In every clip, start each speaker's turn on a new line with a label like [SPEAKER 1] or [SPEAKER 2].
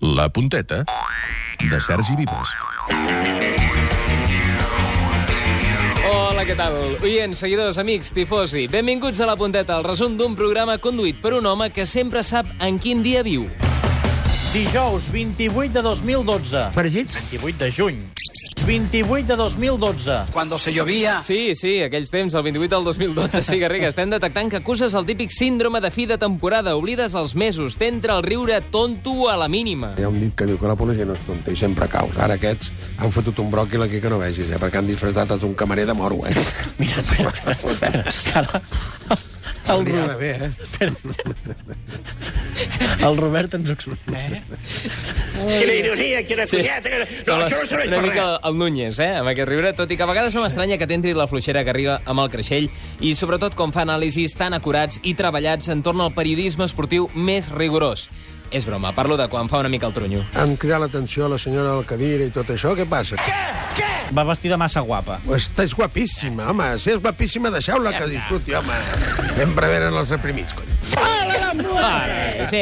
[SPEAKER 1] La punteta de Sergi Vives.
[SPEAKER 2] Hola, què tal? Oients, seguidors, amics, tifosi, benvinguts a La Punteta, el resum d'un programa conduït per un home que sempre sap en quin dia viu.
[SPEAKER 3] Dijous 28 de 2012.
[SPEAKER 4] Fregits?
[SPEAKER 3] 28 de juny. 28 de 2012.
[SPEAKER 5] Cuando se llovía.
[SPEAKER 2] Sí, sí, aquells temps, el 28 del 2012, sí, Garriga, estem detectant que acuses el típic síndrome de fi de temporada, oblides els mesos, t'entra el riure tonto a la mínima.
[SPEAKER 6] Hi ha un dit que diu que la policia no és tonta i sempre caus. Ara aquests han fotut un bròquil aquí que no vegis, eh? perquè han disfressat tot un camarer de moro, eh?
[SPEAKER 3] Mira, espera, espera, espera. que Ara, el,
[SPEAKER 6] Li
[SPEAKER 3] Robert,
[SPEAKER 6] ha d'anar bé, eh?
[SPEAKER 3] el Robert ens ho explica.
[SPEAKER 7] Quina ironia, quina sí. cunyeta... Que... No, això no serveix
[SPEAKER 2] una
[SPEAKER 7] per
[SPEAKER 2] mica
[SPEAKER 7] res.
[SPEAKER 2] el Núñez, eh, amb aquest riure, tot i que a vegades no m'estranya que t'entri la fluixera que arriba amb el creixell i sobretot com fa anàlisis tan acurats i treballats entorn al periodisme esportiu més rigorós. És broma, parlo de quan fa una mica el tronyo.
[SPEAKER 6] Han cridat l'atenció a la senyora del Cadira i tot això, què passa?
[SPEAKER 3] Va vestida massa guapa.
[SPEAKER 6] Estàs guapíssima, home. Si és guapíssima, deixeu-la que disfruti, home. Sempre venen els reprimits, coi.
[SPEAKER 2] Ara, sí.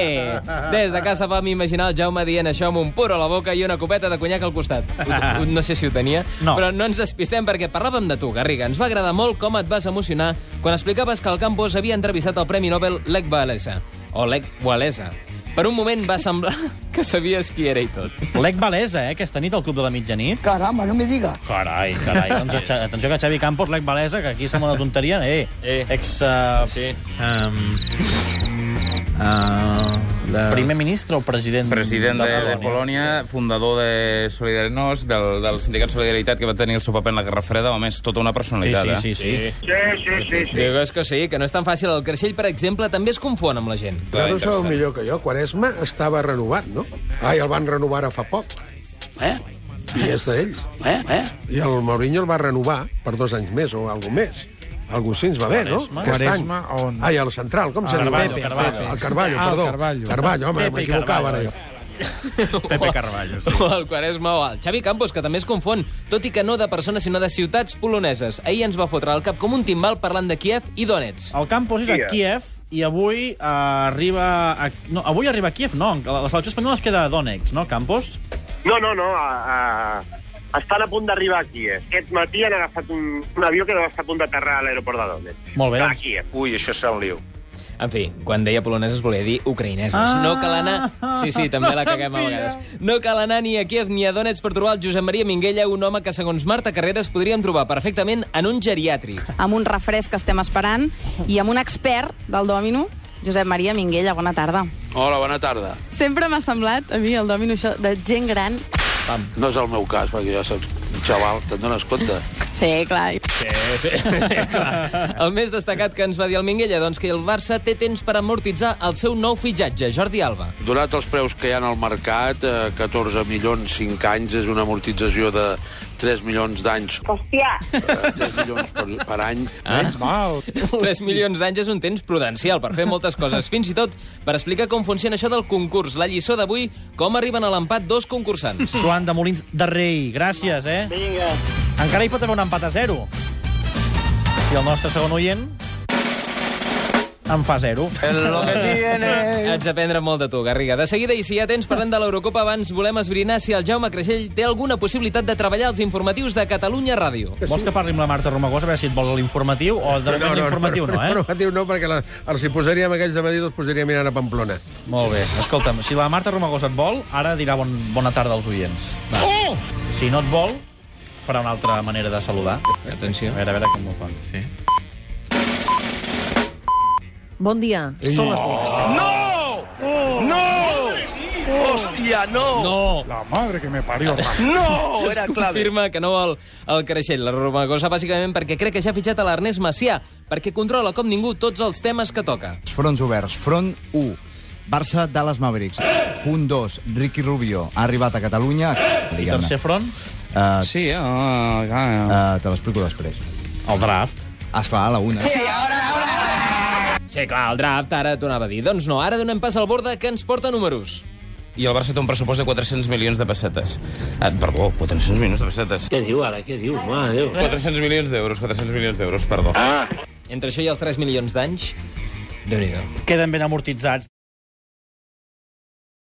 [SPEAKER 2] Des de casa vam imaginar el Jaume dient això amb un puro a la boca i una copeta de conyac al costat. Ho- ho- No sé si ho tenia,
[SPEAKER 3] No.
[SPEAKER 2] però no ens despistem perquè parlàvem de tu, Garriga. Ens va agradar molt com et vas emocionar quan explicaves que el Campos havia entrevistat el Premi Nobel Lech Walesa. O Lech Walesa. Per un moment va semblar que sabies qui era i tot.
[SPEAKER 3] L'Ec Valesa, eh, aquesta nit al Club de la Mitjanit. Caramba, no me diga. Carai, carai. Doncs, Xa- atenció que Xavi Campos, l'Ec Valesa, que aquí sembla una tonteria. Eh,
[SPEAKER 2] Eh.
[SPEAKER 3] ex... Uh,
[SPEAKER 2] Sí.
[SPEAKER 8] Um, uh, la...
[SPEAKER 3] eh, primer ministre o president,
[SPEAKER 8] president de, de Polònia,
[SPEAKER 3] Sí.
[SPEAKER 8] fundador de Solidarnos, del, del sindicat Solidaritat que va tenir el seu paper en la Guerra Freda, home, és tota una
[SPEAKER 3] Sí,
[SPEAKER 8] personalitat.
[SPEAKER 3] sí, sí, sí.
[SPEAKER 7] Sí, sí, sí, sí.
[SPEAKER 2] Digues que sí, que no és tan fàcil. El creixell, per exemple, també es confon amb la gent.
[SPEAKER 8] eh? Clar,
[SPEAKER 6] Vosaltres sabeu millor
[SPEAKER 8] interessant.
[SPEAKER 6] que jo. Quaresma estava renovat, no? Ai, el van renovar ara fa poc.
[SPEAKER 5] Eh?
[SPEAKER 6] I és d'ell.
[SPEAKER 5] Eh? Eh?
[SPEAKER 6] I el Mourinho el va renovar per dos anys més o alguna més. Algú així ens va bé, no?
[SPEAKER 3] Quaresma?
[SPEAKER 6] Aquest any.
[SPEAKER 4] Quaresma on?
[SPEAKER 6] Ai, al central, com se diu?
[SPEAKER 3] Carballo, Carballo.
[SPEAKER 6] El Carballo,
[SPEAKER 4] Ah, el
[SPEAKER 6] perdó.
[SPEAKER 4] Carballo.
[SPEAKER 6] Carballo, home,
[SPEAKER 3] Pepe
[SPEAKER 6] m'equivocava ara
[SPEAKER 3] Carballo.
[SPEAKER 6] jo.
[SPEAKER 2] Pepe Carballo. Sí. O el Quaresma o el Xavi Campos, que també es confon, tot i que no de persones, sinó de ciutats poloneses. Ahir ens va fotre al cap com un timbal parlant de Kiev i Donetsk.
[SPEAKER 3] El campus és a Kiev i avui eh, arriba... A... No, avui arriba a Kiev, no. La selecció espanyola es queda a Donetsk, no, Campos?
[SPEAKER 7] No, no, no. A, a... Estan a punt d'arribar aquí, eh? Aquest matí han agafat un, un avió que deu estar a punt d'aterrar a l'aeroport de Donetsk.
[SPEAKER 3] Molt bé,
[SPEAKER 7] Està
[SPEAKER 3] doncs.
[SPEAKER 7] Aquí, eh?
[SPEAKER 5] Ui, això serà un lío.
[SPEAKER 2] En fi, quan deia poloneses volia dir ucraïneses.
[SPEAKER 3] Ah!
[SPEAKER 2] no cal anar... Sí, sí, també
[SPEAKER 3] No
[SPEAKER 2] la caguem a
[SPEAKER 3] sabia.
[SPEAKER 2] vegades. No cal anar ni a Kiev ni a Donetsk per trobar el Josep Maria Minguella, un home que, segons Marta Carreras, podríem trobar perfectament en un geriàtric.
[SPEAKER 9] amb un refresc que estem esperant i amb un expert del Dòmino, Josep Maria Minguella. Bona tarda.
[SPEAKER 5] Hola, bona tarda.
[SPEAKER 9] Sempre m'ha semblat, a mi, el Dòmino, això de gent gran.
[SPEAKER 5] No és el meu cas, perquè ja saps, xaval, te'n dones compte?
[SPEAKER 9] Sí, clar.
[SPEAKER 2] Sí, sí, clar. El més destacat que ens va dir el Minguella, doncs que el Barça té temps per amortitzar el seu nou fitxatge, Jordi Alba.
[SPEAKER 5] Donat els preus que hi ha al mercat, eh, 14 milions, 5 anys, és una amortització de 3 milions d'anys,
[SPEAKER 10] Hòstia,
[SPEAKER 5] eh, 3 milions per, per any.
[SPEAKER 4] Ah. Val.
[SPEAKER 2] 3 milions d'anys és un temps prudencial per fer moltes coses, fins i tot per explicar com funciona això del concurs. La lliçó d'avui, com arriben a l'empat dos concursants.
[SPEAKER 3] Joan de Molins de Rei, gràcies, eh?
[SPEAKER 7] Vinga.
[SPEAKER 3] Encara hi pot haver un empat a zero. Si el nostre segon oient en fa zero.
[SPEAKER 8] Lo que tiene...
[SPEAKER 2] Haig d'aprendre molt de tu, Garriga. De seguida, i si hi ha temps, parlem de l'Eurocopa. Abans volem esbrinar si el Jaume Creixell té alguna possibilitat de treballar als informatius de Catalunya Ràdio.
[SPEAKER 3] Vols que parli amb la Marta Romagosa, a veure si et vol l'informatiu? O de moment l'informatiu no, eh?
[SPEAKER 6] Informatiu no, perquè la, els hi posaríem aquells de Madrid, els posaria mirant a Pamplona.
[SPEAKER 3] Molt bé, escolta'm, si la Marta Romagosa et vol, ara dirà bon, bona tarda als oients. Va. Si no et vol, farà una altra manera de saludar.
[SPEAKER 2] Atenció.
[SPEAKER 3] A veure, a veure com ho fan. Sí.
[SPEAKER 11] Bon dia, són les dues.
[SPEAKER 2] Ah, No!
[SPEAKER 4] La madre que me parió.
[SPEAKER 2] Oh, era confirma que no vol el Creixell, la Romagosa, bàsicament perquè crec que ja ha fitxat a l'Ernest Macià, perquè controla com ningú tots els temes que toca.
[SPEAKER 12] Fronts oberts. Front 1, Barça Dallas Mavericks. Punt 2, Ricky Rubio ha arribat a Catalunya.
[SPEAKER 3] I
[SPEAKER 12] Diguem-ne.
[SPEAKER 3] tercer front,
[SPEAKER 12] Eh,
[SPEAKER 8] Sí, ah, ah, ah.
[SPEAKER 12] eh, te l'explico després.
[SPEAKER 3] el draft.
[SPEAKER 12] Esclar, a la una.
[SPEAKER 2] Sí, clar, el draft ara t'ho anava a dir. Doncs no, ara donem pas al Borda, que ens porta números.
[SPEAKER 8] I el Barça té un pressupost de 400 milions de pessetes. Ah, perdó, 400 milions de pessetes.
[SPEAKER 5] Què diu ara, què diu? Mare Déu.
[SPEAKER 8] 400 milions d'euros, 400 milions d'euros, perdó.
[SPEAKER 2] Entre això i els 3 milions d'anys, déu nhi
[SPEAKER 3] Queden ben amortitzats